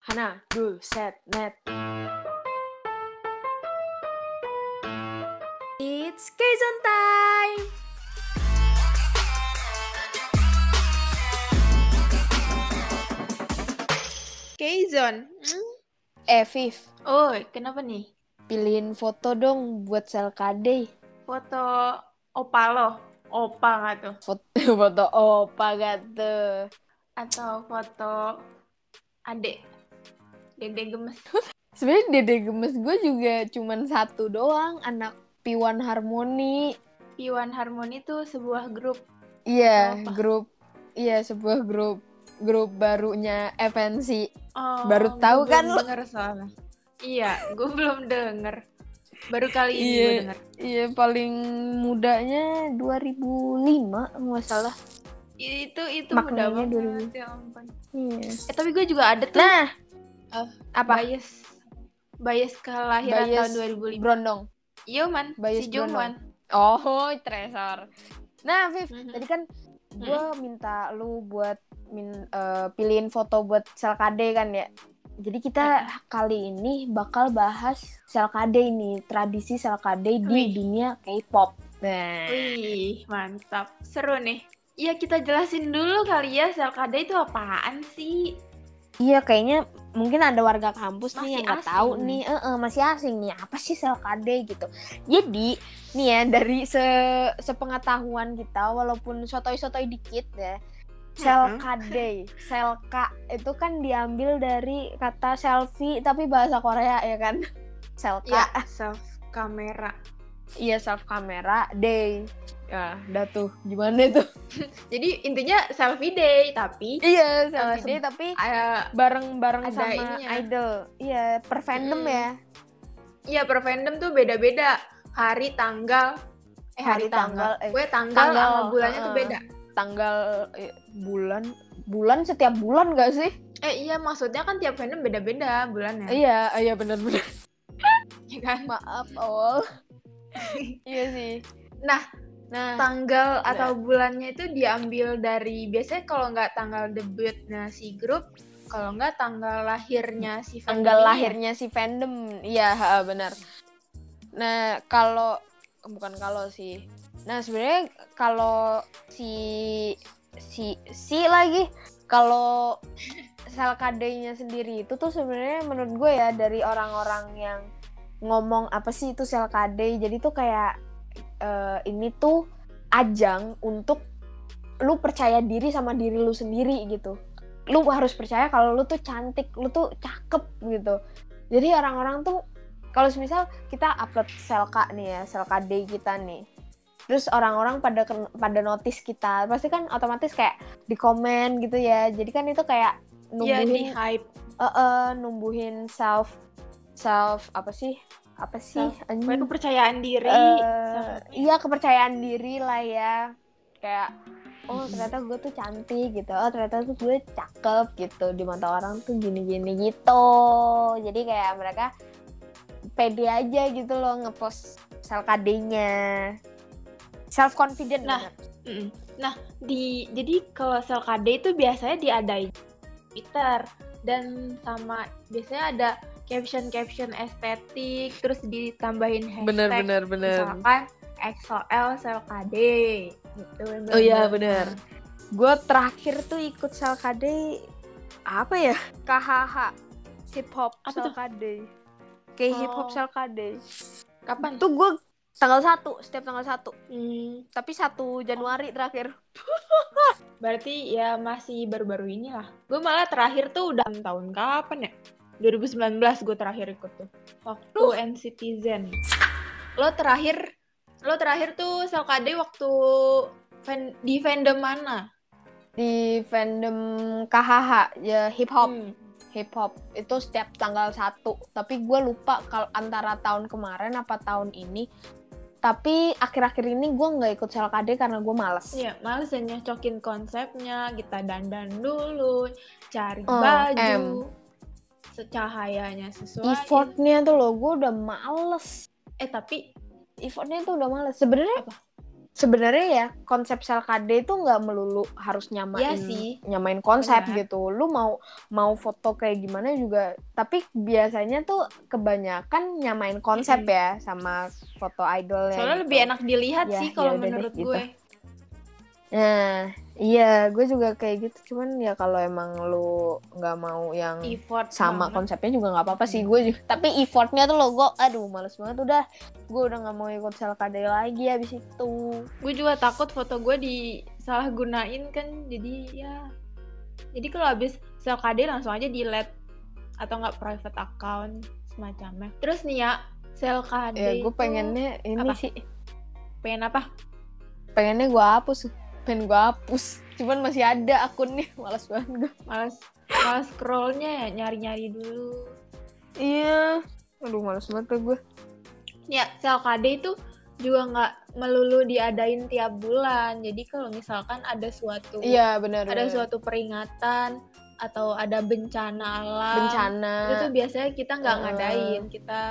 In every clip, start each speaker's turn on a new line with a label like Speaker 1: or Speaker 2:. Speaker 1: Hana, dul, set, net.
Speaker 2: It's Kaizon time!
Speaker 3: K-Zone.
Speaker 4: Eh, Viv,
Speaker 1: Oi, kenapa nih?
Speaker 4: pilihin foto dong buat sel KD.
Speaker 1: Foto opa lo, opa nggak tuh?
Speaker 4: Foto, foto opa gak tuh.
Speaker 1: Atau foto adek, dede gemes.
Speaker 4: Sebenarnya dede gemes gue juga cuman satu doang, anak Piwan Harmoni.
Speaker 1: Piwan Harmoni tuh sebuah grup.
Speaker 4: Iya,
Speaker 1: Apa?
Speaker 4: grup. Iya, sebuah grup grup barunya FNC.
Speaker 1: Oh,
Speaker 4: Baru
Speaker 1: gua
Speaker 4: tahu kan
Speaker 1: belum
Speaker 4: lo.
Speaker 1: Denger soalnya. Iya, gue belum denger. Baru kali ini
Speaker 4: Iya.
Speaker 1: gue denger.
Speaker 4: Iya, paling mudanya 2005 nggak salah.
Speaker 1: Itu itu
Speaker 4: Maknanya
Speaker 1: mudah
Speaker 4: dulu.
Speaker 1: banget ya ampun.
Speaker 4: Iya.
Speaker 1: Eh tapi gue juga ada tuh
Speaker 4: Nah,
Speaker 1: Eh,
Speaker 4: apa?
Speaker 1: bias bias kelahiran
Speaker 4: Bias
Speaker 1: tahun 2005.
Speaker 4: Brondong.
Speaker 1: Iya man,
Speaker 4: bias
Speaker 1: si
Speaker 4: Bruno.
Speaker 1: Jungwan.
Speaker 4: Oh, Tresor. Nah, Viv,
Speaker 1: Mhm.
Speaker 4: tadi kan gue
Speaker 1: Mm-hmm.
Speaker 4: minta lu buat min- eh, pilihin foto buat sel KD kan ya. Jadi kita
Speaker 1: Mm-hmm.
Speaker 4: kali ini bakal bahas sel KD ini, tradisi sel KD di
Speaker 1: Wih.
Speaker 4: dunia K-pop. Nah,
Speaker 1: Wih, mantap. Seru nih. Iya, kita jelasin dulu kali ya selkada itu apaan sih?
Speaker 4: iya kayaknya mungkin ada warga kampus
Speaker 1: Masih
Speaker 4: nih yang nggak
Speaker 1: asing.
Speaker 4: tahu nih, eh, eh, masih asing nih apa sih sel KD gitu. Jadi nih ya dari se- sepengetahuan kita, walaupun sotoi-sotoi dikit ya, Sel
Speaker 1: Hmm.
Speaker 3: Mm-mm.
Speaker 4: KD, sel K itu kan diambil dari kata selfie tapi bahasa Korea ya kan. Sel K,
Speaker 1: Ya, self kamera.
Speaker 4: iya self kamera, day. Ya, udah tuh. Gimana tuh?
Speaker 1: Jadi intinya selfie day, tapi
Speaker 4: Iya,
Speaker 1: selfie day,
Speaker 4: tapi
Speaker 1: eh,
Speaker 4: bareng-bareng
Speaker 1: ada
Speaker 4: sama
Speaker 1: ininya. Hmm.
Speaker 4: idol. Iya, per fandom
Speaker 1: Mm-mm.
Speaker 4: ya.
Speaker 1: ya per fandom tuh beda-beda. Hari, tanggal, eh
Speaker 4: Hari,
Speaker 1: hari, tanggal.
Speaker 4: tanggal, eh,
Speaker 1: Gue tanggal,
Speaker 4: tanggal,
Speaker 1: sama bulannya tuh
Speaker 4: heeh.
Speaker 1: beda.
Speaker 4: Tanggal eh, bulan bulan setiap bulan gak sih?
Speaker 1: Eh iya, maksudnya kan tiap fandom beda-beda bulannya.
Speaker 4: Iya, iya benar-benar.
Speaker 1: Iya kan?
Speaker 4: Maaf awal. iya sih.
Speaker 1: Nah,
Speaker 4: nah
Speaker 1: Tanggal atau bulannya itu diambil dari biasanya kalau nggak tanggal debutnya si grup, kalau nggak tanggal lahirnya si fandom
Speaker 4: tanggal
Speaker 1: ini ya.
Speaker 4: lahirnya si fandom iya ha, benar nah kalau bukan kalau sih nah sebenarnya kalau si si si lagi kalau sel kadenya sendiri itu tuh sebenarnya menurut gue ya dari orang-orang yang ngomong apa sih itu sel kade jadi tuh kayak eh, ini tuh ajang untuk lu percaya diri sama diri lu sendiri gitu lu harus percaya kalau lu tuh cantik lu tuh cakep gitu jadi orang-orang tuh kalau misal kita upload selka nih ya selka day kita nih terus orang-orang pada ken- pada notice kita pasti kan otomatis kayak di komen gitu ya jadi kan itu kayak
Speaker 1: Iya, di
Speaker 4: numbuhin
Speaker 1: hype.
Speaker 4: eh, eh, numbuhin self self apa sih apa sih anjing?
Speaker 1: Baru kepercayaan diri.
Speaker 4: Hmm. Eh,
Speaker 1: sama-
Speaker 4: iya kepercayaan diri lah ya kayak oh ternyata gue tuh cantik gitu oh ternyata tuh gue cakep gitu di mata orang tuh gini-gini gitu jadi kayak mereka pede aja gitu loh ngepost sel KD-nya self confident
Speaker 1: Nah, Mm-mm. Nah, di jadi kalau selkade itu biasanya diadain Twitter dan sama biasanya ada caption-caption estetik terus ditambahin hashtag. Misalkan XOL selkade gitu.
Speaker 4: Oh iya,
Speaker 1: benar.
Speaker 4: gue terakhir tuh ikut sel KD apa ya KHH hip hop
Speaker 1: Apa
Speaker 4: sel
Speaker 1: tuh?
Speaker 4: KD kayak hip hop
Speaker 1: Oh.
Speaker 4: sel KD
Speaker 1: Kapan?
Speaker 4: tuh gue tanggal 1 setiap tanggal 1
Speaker 1: Hmm,
Speaker 4: tapi 1 Januari terakhir.
Speaker 1: berarti ya masih baru-baru ini lah. Gue malah terakhir tuh udah tahun kapan ya? 2019 gue terakhir ikut tuh. Waktu NCTzen. Lo terakhir lo terakhir tuh Selkade waktu fan- di fandom mana?
Speaker 4: Di fandom KHH ya hip hop,
Speaker 1: Hmm.
Speaker 4: hip hop itu setiap tanggal 1. Tapi gue lupa kalau antara tahun kemarin apa tahun ini. Tapi akhir-akhir ini gue nggak ikut selkade karena gue males.
Speaker 1: Iya, males ya nyocokin konsepnya, kita dandan dulu, cari
Speaker 4: Oh, em.
Speaker 1: baju, secahayanya sesuai.
Speaker 4: Effortnya tuh loh, gue udah males.
Speaker 1: Eh tapi
Speaker 4: Effortnya tuh udah males. Sebenarnya
Speaker 1: Apa?
Speaker 4: sebenarnya ya konsep selkade itu nggak melulu harus nyamain
Speaker 1: Iya sih.
Speaker 4: nyamain konsep
Speaker 1: Benar.
Speaker 4: gitu. Lu mau mau foto kayak gimana juga, tapi biasanya tuh kebanyakan nyamain konsep
Speaker 1: Mm-mm.
Speaker 4: ya sama foto idolnya.
Speaker 1: Soalnya
Speaker 4: gitu.
Speaker 1: lebih enak dilihat
Speaker 4: Ya,
Speaker 1: sih
Speaker 4: ya
Speaker 1: kalau
Speaker 4: udah deh,
Speaker 1: menurut
Speaker 4: gitu.
Speaker 1: gue.
Speaker 4: Nah, iya, gue juga kayak gitu. Cuman ya kalau emang lu nggak mau yang
Speaker 1: Effort
Speaker 4: sama
Speaker 1: banget. Mm.
Speaker 4: konsepnya juga nggak apa-apa sih gue juga. Tapi effortnya tuh lo gue, aduh males banget udah. Gue udah nggak mau ikut selkade lagi abis itu.
Speaker 1: Gue juga takut foto gue disalahgunain kan, jadi ya. Jadi kalau habis selkade langsung aja delete atau nggak private account semacamnya. Terus nih ya, selkade
Speaker 4: Ya gue
Speaker 1: itu
Speaker 4: pengennya ini
Speaker 1: apa?
Speaker 4: sih,
Speaker 1: pengen apa?
Speaker 4: pengennya gue hapus, pengen gue hapus. Cuman masih ada akunnya, males banget gue.
Speaker 1: Males males scrollnya ya, nyari-nyari dulu.
Speaker 4: Iya, aduh males banget tuh gue.
Speaker 1: Ya, selkade itu juga nggak melulu diadain tiap bulan. Jadi kalau misalkan ada suatu
Speaker 4: Iya benar.
Speaker 1: ada
Speaker 4: benar.
Speaker 1: suatu peringatan atau ada bencana alam
Speaker 4: bencana.
Speaker 1: itu tuh biasanya kita nggak
Speaker 4: Nah, Eh.
Speaker 1: ngadain kita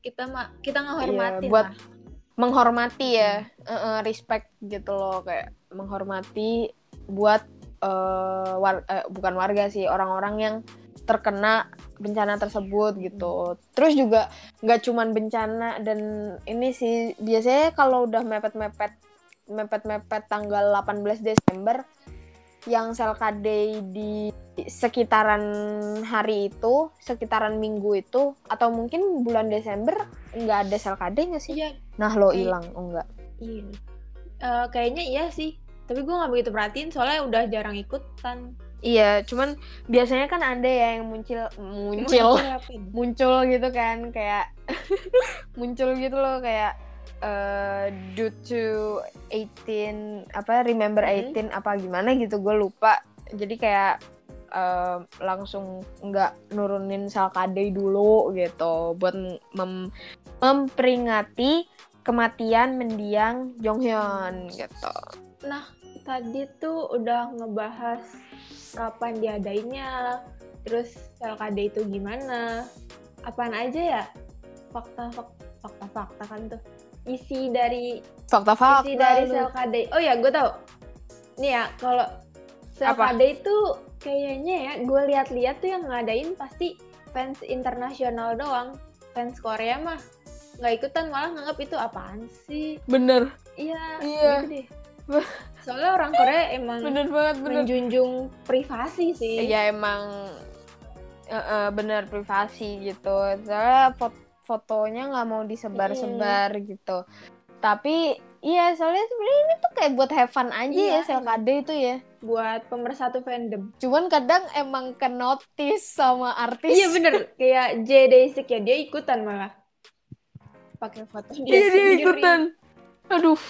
Speaker 1: kita ma- kita
Speaker 4: Iya,
Speaker 1: ngehormatin
Speaker 4: buat-
Speaker 1: lah.
Speaker 4: menghormati ya eh, eh, respect gitu loh kayak menghormati buat eh, war- eh, bukan warga sih orang-orang yang terkena bencana tersebut gitu terus juga nggak cuman bencana dan ini sih biasanya kalau udah mepet-mepet mepet-mepet tanggal 18 Desember yang selkade di sekitaran hari itu sekitaran minggu itu atau mungkin bulan Desember nggak ada selkade nggak sih
Speaker 1: iya
Speaker 4: Nah lo
Speaker 1: Kayak-
Speaker 4: hilang, oh enggak.
Speaker 1: iya Eh, kayaknya iya sih tapi gue nggak begitu perhatiin soalnya udah jarang ikutan
Speaker 4: Iya, cuman biasanya kan ada ya yang muncul muncul muncul gitu kan kayak muncul gitu loh kayak eh, due to 18 apa remember 18
Speaker 1: Mhm.
Speaker 4: apa gimana gitu gue lupa. Jadi kayak eh, langsung nggak nurunin salkade dulu gitu buat mem- memperingati kematian mendiang Jonghyun gitu.
Speaker 1: tadi tuh udah ngebahas kapan diadainnya terus LKD itu gimana apaan aja ya fakta fakta fakta, fakta kan tuh isi dari
Speaker 4: Fakta-fakta
Speaker 1: isi dari
Speaker 4: lu.
Speaker 1: sel KD. Oh ya, gue tau. Nih ya, kalau sel
Speaker 4: Apa?
Speaker 1: KD itu kayaknya ya, gue lihat-lihat tuh yang ngadain pasti fans internasional doang. Fans Korea mah nggak ikutan malah nganggap itu apaan sih?
Speaker 4: Bener.
Speaker 1: Iya,
Speaker 4: Iya.
Speaker 1: gitu deh. Soalnya orang Korea emang
Speaker 4: bener banget bener
Speaker 1: menjunjung privasi sih.
Speaker 4: ya emang eh, eh, bener privasi gitu soalnya fot- fotonya nggak mau disebar-sebar gitu tapi iya soalnya sebenarnya ini tuh kayak buat have fun aja
Speaker 1: Iya,
Speaker 4: ya selkade itu ya
Speaker 1: Buat pemersatu fandom.
Speaker 4: cuman kadang emang ke notice sama artis
Speaker 1: Iya bener, kayak J Daisik ya, dia ikutan malah. Pakai foto dia
Speaker 4: Iya, dia
Speaker 1: sendiri.
Speaker 4: ikutan aduh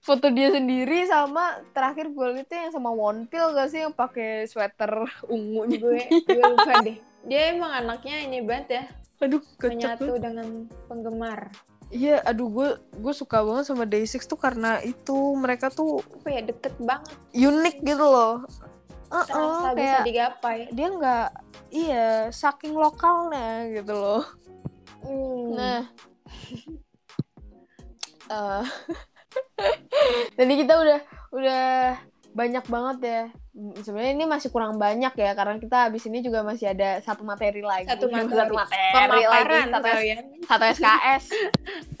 Speaker 4: foto dia sendiri sama terakhir gue liat tuh yang sama Wonpil gak sih yang pakai sweater ungu
Speaker 1: gue gue lupa deh dia emang anaknya ini banget ya
Speaker 4: aduh kocak
Speaker 1: menyatu dengan penggemar
Speaker 4: Iya, aduh gue gue suka banget sama Day6 tuh karena itu mereka tuh
Speaker 1: apa ya deket banget
Speaker 4: unik gitu loh. Heeh,
Speaker 1: terasa bisa
Speaker 4: Oh, kayak
Speaker 1: digapai
Speaker 4: dia nggak iya saking lokalnya gitu loh.
Speaker 1: Hmm.
Speaker 4: Nah, eh, jadi kita udah udah banyak banget ya. Sebenarnya ini masih kurang banyak ya karena kita habis ini juga masih ada satu materi lagi.
Speaker 1: satu materi,
Speaker 4: Satu materi lagi.
Speaker 1: pemaparan
Speaker 4: Satu,
Speaker 1: kalian
Speaker 4: satu SKS.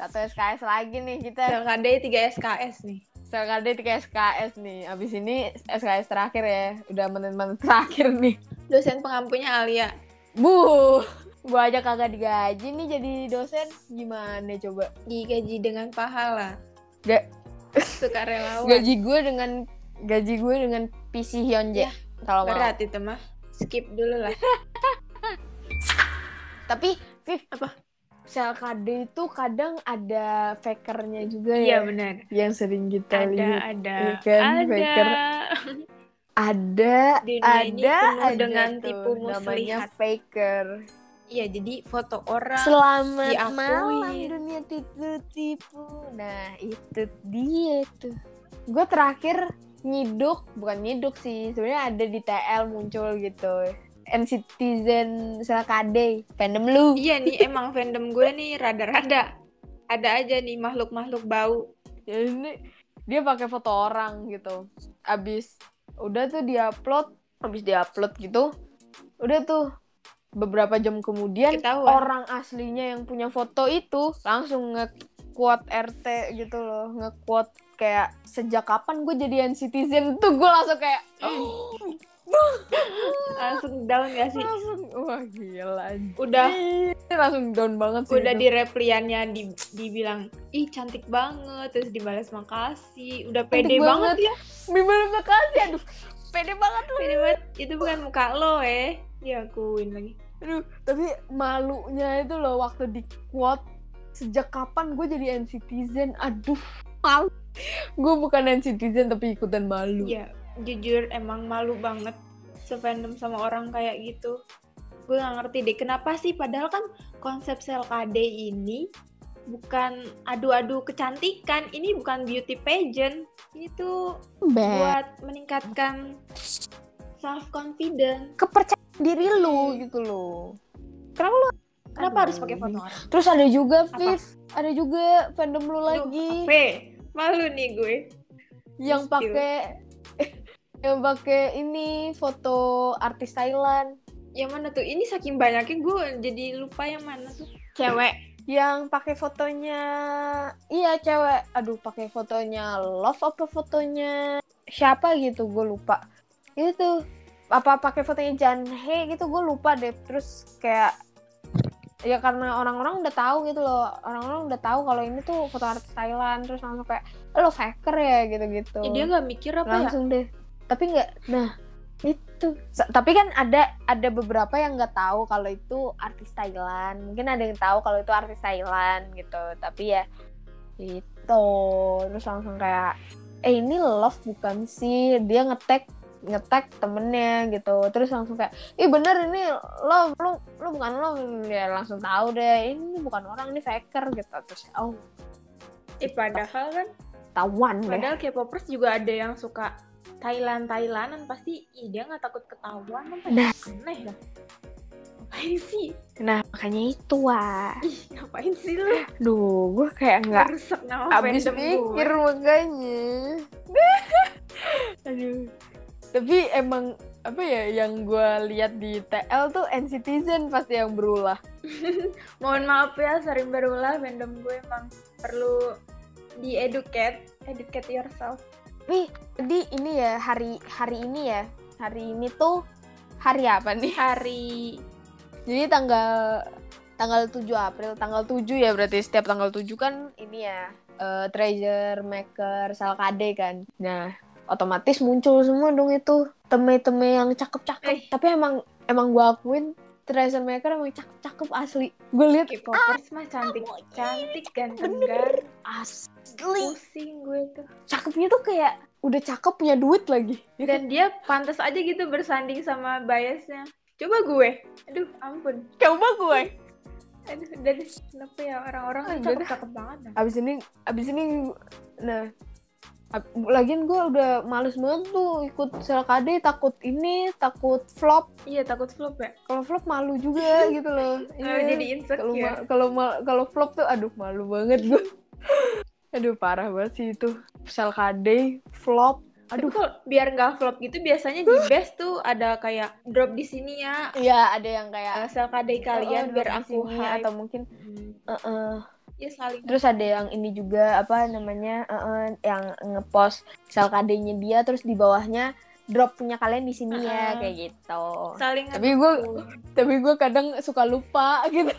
Speaker 4: satu SKS lagi nih kita.
Speaker 1: LKD 3 SKS nih
Speaker 4: Sekali tiga SKS nih, abis ini SKS terakhir ya, udah menit-menit terakhir nih.
Speaker 1: dosen pengampunya Alia
Speaker 4: Bu, gua aja kagak digaji nih jadi dosen, gimana coba?
Speaker 1: digaji dengan pahala
Speaker 4: Ga-
Speaker 1: suka relawan
Speaker 4: Gaji gue dengan gaji gue dengan PC Hyunjae
Speaker 1: Yah,
Speaker 4: kalau mau.
Speaker 1: berat itu mah skip dulu lah
Speaker 4: Tapi Viv,
Speaker 1: Apa?
Speaker 4: Selkade itu kadang ada fakernya juga ya,
Speaker 1: iya benar
Speaker 4: yang sering kita
Speaker 1: ada
Speaker 4: lihat.
Speaker 1: ada
Speaker 4: Iya kan,
Speaker 1: ada
Speaker 4: baker. Ada,
Speaker 1: Dunia ini
Speaker 4: ada,
Speaker 1: penuh
Speaker 4: ada
Speaker 1: dengan
Speaker 4: tuh,
Speaker 1: tipu
Speaker 4: namanya
Speaker 1: muslihat
Speaker 4: faker.
Speaker 1: iya jadi foto orang
Speaker 4: Selamat
Speaker 1: diakui.
Speaker 4: malam dunia tipu-tipu. Nah, itu dia tuh. Gue terakhir nyiduk, bukan nyiduk sih, sebenarnya ada di TL muncul gitu. NCTzen Selakade, fandom lu.
Speaker 1: Iya nih emang fandom gue nih rada-rada ada aja nih makhluk-makhluk bau.
Speaker 4: Ya, Ini dia pakai foto orang gitu abis udah tuh diupload abis diupload gitu udah tuh beberapa jam kemudian
Speaker 1: Ketahuan.
Speaker 4: orang aslinya yang punya foto itu langsung nge-quote RT gitu loh nge-quote kayak sejak kapan gue jadi citizen tuh gue langsung kayak
Speaker 1: langsung down gak sih
Speaker 4: langsung wah gila anjing.
Speaker 1: udah
Speaker 4: Ini langsung down banget Iya sih
Speaker 1: udah
Speaker 4: itu.
Speaker 1: di repliannya di- dibilang ih cantik banget terus dibalas makasih udah pede
Speaker 4: Cantik
Speaker 1: banget, ya
Speaker 4: Gimana makasih aduh pede banget lu
Speaker 1: pede banget itu bukan muka lo eh diakuin lagi
Speaker 4: aduh tapi malunya itu loh waktu di quote sejak kapan gue jadi NCTzen aduh malu gue bukan NCTzen tapi ikutan malu
Speaker 1: Iya, jujur emang malu banget sefandom sama orang kayak gitu. Gue gak ngerti deh, kenapa sih padahal kan konsep KD ini bukan adu-adu kecantikan, ini bukan beauty pageant. Ini tuh
Speaker 4: Be-
Speaker 1: buat meningkatkan self confidence.
Speaker 4: kepercayaan diri lu gitu loh kenapa lu Aduh.
Speaker 1: Kenapa harus pakai foto orang?
Speaker 4: terus ada juga
Speaker 1: Apa?
Speaker 4: Viv ada juga fandom lu lagi
Speaker 1: Aduh, apa? ya? malu nih gue.
Speaker 4: yang
Speaker 1: Terus gitu.
Speaker 4: pakai yang pakai ini foto artis Thailand
Speaker 1: Yang Ya mana tuh? Ini saking banyaknya gue jadi lupa yang mana tuh. Cewek.
Speaker 4: yang pakai fotonya iya cewek aduh pakai fotonya love apa fotonya siapa gitu gue lupa itu tuh apa pakai fotonya Janhe gitu gue lupa deh terus kayak ya karena orang-orang udah tahu gitu loh orang-orang udah tahu kalau ini tuh foto artis Thailand terus langsung kayak "Eh, lo faker ya gitu-gitu
Speaker 1: Ya, dia nggak mikir apa ya?
Speaker 4: langsung deh tapi nggak nah itu Sa- tapi kan ada ada beberapa yang nggak tahu kalau itu artis Thailand mungkin ada yang tahu kalau itu artis Thailand gitu tapi ya itu terus langsung kayak eh ini love bukan sih dia ngetek ngetek temennya gitu terus langsung kayak ih bener ini love lu lu bukan love ya langsung tahu deh "Eh, ini bukan orang ini faker gitu terus oh
Speaker 1: Eh padahal kan
Speaker 4: tawan ya." deh
Speaker 1: Padahal K-popers juga ada yang suka Thailand Thailandan pasti ih dia nggak takut ketahuan apa ya? aneh dah. Ngapain sih?
Speaker 4: nah makanya itu wah
Speaker 1: Ih, ngapain sih lu?
Speaker 4: Duh, gue kayak nggak
Speaker 1: Rusak nama
Speaker 4: habis
Speaker 1: fandom
Speaker 4: mikir
Speaker 1: gue.
Speaker 4: makanya. Aduh. Tapi emang apa ya yang gue lihat di TL tuh NCTzen pasti yang berulah.
Speaker 1: Mohon maaf ya sering berulah fandom gue emang perlu di-educate, educate yourself.
Speaker 4: Tapi jadi ini ya hari hari ini ya. Hari ini tuh hari apa nih?
Speaker 1: Hari
Speaker 4: Jadi tanggal tanggal 7 April, tanggal 7 ya berarti setiap tanggal 7 kan ini ya eh, treasure maker Salkade kan. Nah, otomatis muncul semua dong itu teme-teme yang
Speaker 1: Eh.
Speaker 4: cakep-cakep. Tapi emang emang gua akuin treasure maker emang cakep-cakep asli. Gue lihat
Speaker 1: K-popers mah cantik, cantik ganteng ganteng.
Speaker 4: asli
Speaker 1: Pusing gue tuh.
Speaker 4: cakepnya tuh kayak udah cakep punya duit lagi. Ya kan?
Speaker 1: Dan dia pantas aja gitu bersanding sama biasnya. Coba gue. Aduh, ampun.
Speaker 4: coba gue.
Speaker 1: Aduh, udah deh. Kenapa ya orang-orang
Speaker 4: Ah,
Speaker 1: tuh
Speaker 4: udah
Speaker 1: cakep-cakep banget dah.
Speaker 4: abis ini abis ini nah ab- lagian gue udah males banget tuh ikut selkade takut ini takut flop
Speaker 1: Iya, takut flop ya.
Speaker 4: kalau flop malu juga gitu loh
Speaker 1: Kalau
Speaker 4: Iya.
Speaker 1: jadi
Speaker 4: kalau ma-
Speaker 1: insecure.
Speaker 4: kalau ma- kalau flop tuh aduh malu banget gue aduh parah banget sih itu selkade flop
Speaker 1: Aduh,
Speaker 4: aduh
Speaker 1: biar nggak flop gitu biasanya di best tuh ada kayak drop di sini ya.
Speaker 4: Iya ada yang kayak
Speaker 1: Uh, sel kadai
Speaker 4: "Oh,
Speaker 1: kalian biar
Speaker 4: di
Speaker 1: aku
Speaker 4: sini,"
Speaker 1: hype.
Speaker 4: atau mungkin
Speaker 1: Hmm.
Speaker 4: "Eh,
Speaker 1: Iya, saling
Speaker 4: terus ada yang ini juga apa namanya eh, eh, yang ngepost sel KD-nya dia terus di bawahnya drop punya kalian di sini ya
Speaker 1: Heeh.
Speaker 4: kayak gitu
Speaker 1: saling
Speaker 4: tapi gue
Speaker 1: ngedukung.
Speaker 4: tapi gue kadang suka lupa gitu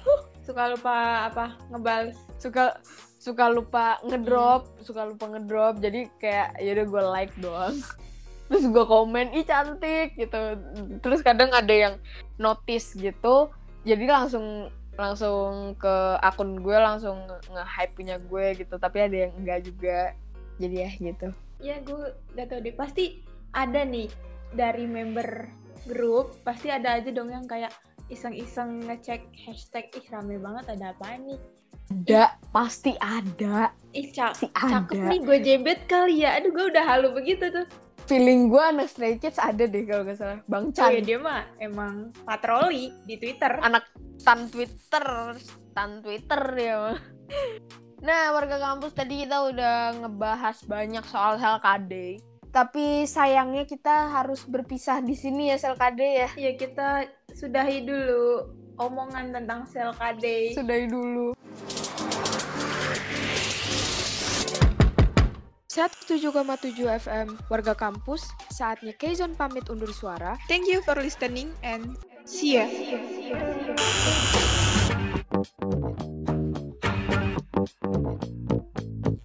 Speaker 1: suka lupa apa ngebales
Speaker 4: suka suka lupa ngedrop suka lupa ngedrop jadi kayak yaudah gue like doang terus gue komen ih cantik gitu terus kadang ada yang notice gitu jadi langsung langsung ke akun gue langsung nge hype punya gue gitu tapi ada yang enggak juga jadi ya gitu
Speaker 1: ya gue gak tau deh pasti ada nih dari member grup pasti ada aja dong yang kayak iseng-iseng ngecek hashtag ih rame banget ada apa nih
Speaker 4: ada pasti ada
Speaker 1: ih ca-
Speaker 4: pasti
Speaker 1: cakep
Speaker 4: ada
Speaker 1: nih gue jebet kali ya aduh gue udah halu begitu tuh
Speaker 4: feeling gue anak Stray Kids ada deh kalau nggak salah bang
Speaker 1: oh
Speaker 4: Chan
Speaker 1: ya dia mah emang patroli di twitter
Speaker 4: anak tan Twitter, tan Twitter dia mah. ya. Nah, warga kampus tadi kita udah ngebahas banyak soal LKD. Tapi sayangnya kita harus berpisah di sini ya LKD ya.
Speaker 1: Ya kita sudahi dulu omongan tentang sel KD.
Speaker 4: Sudahi dulu.
Speaker 2: 107,7 FM Warga Kampus, saatnya Keizon pamit undur suara.
Speaker 3: Thank you for listening and see ya.
Speaker 1: Iya.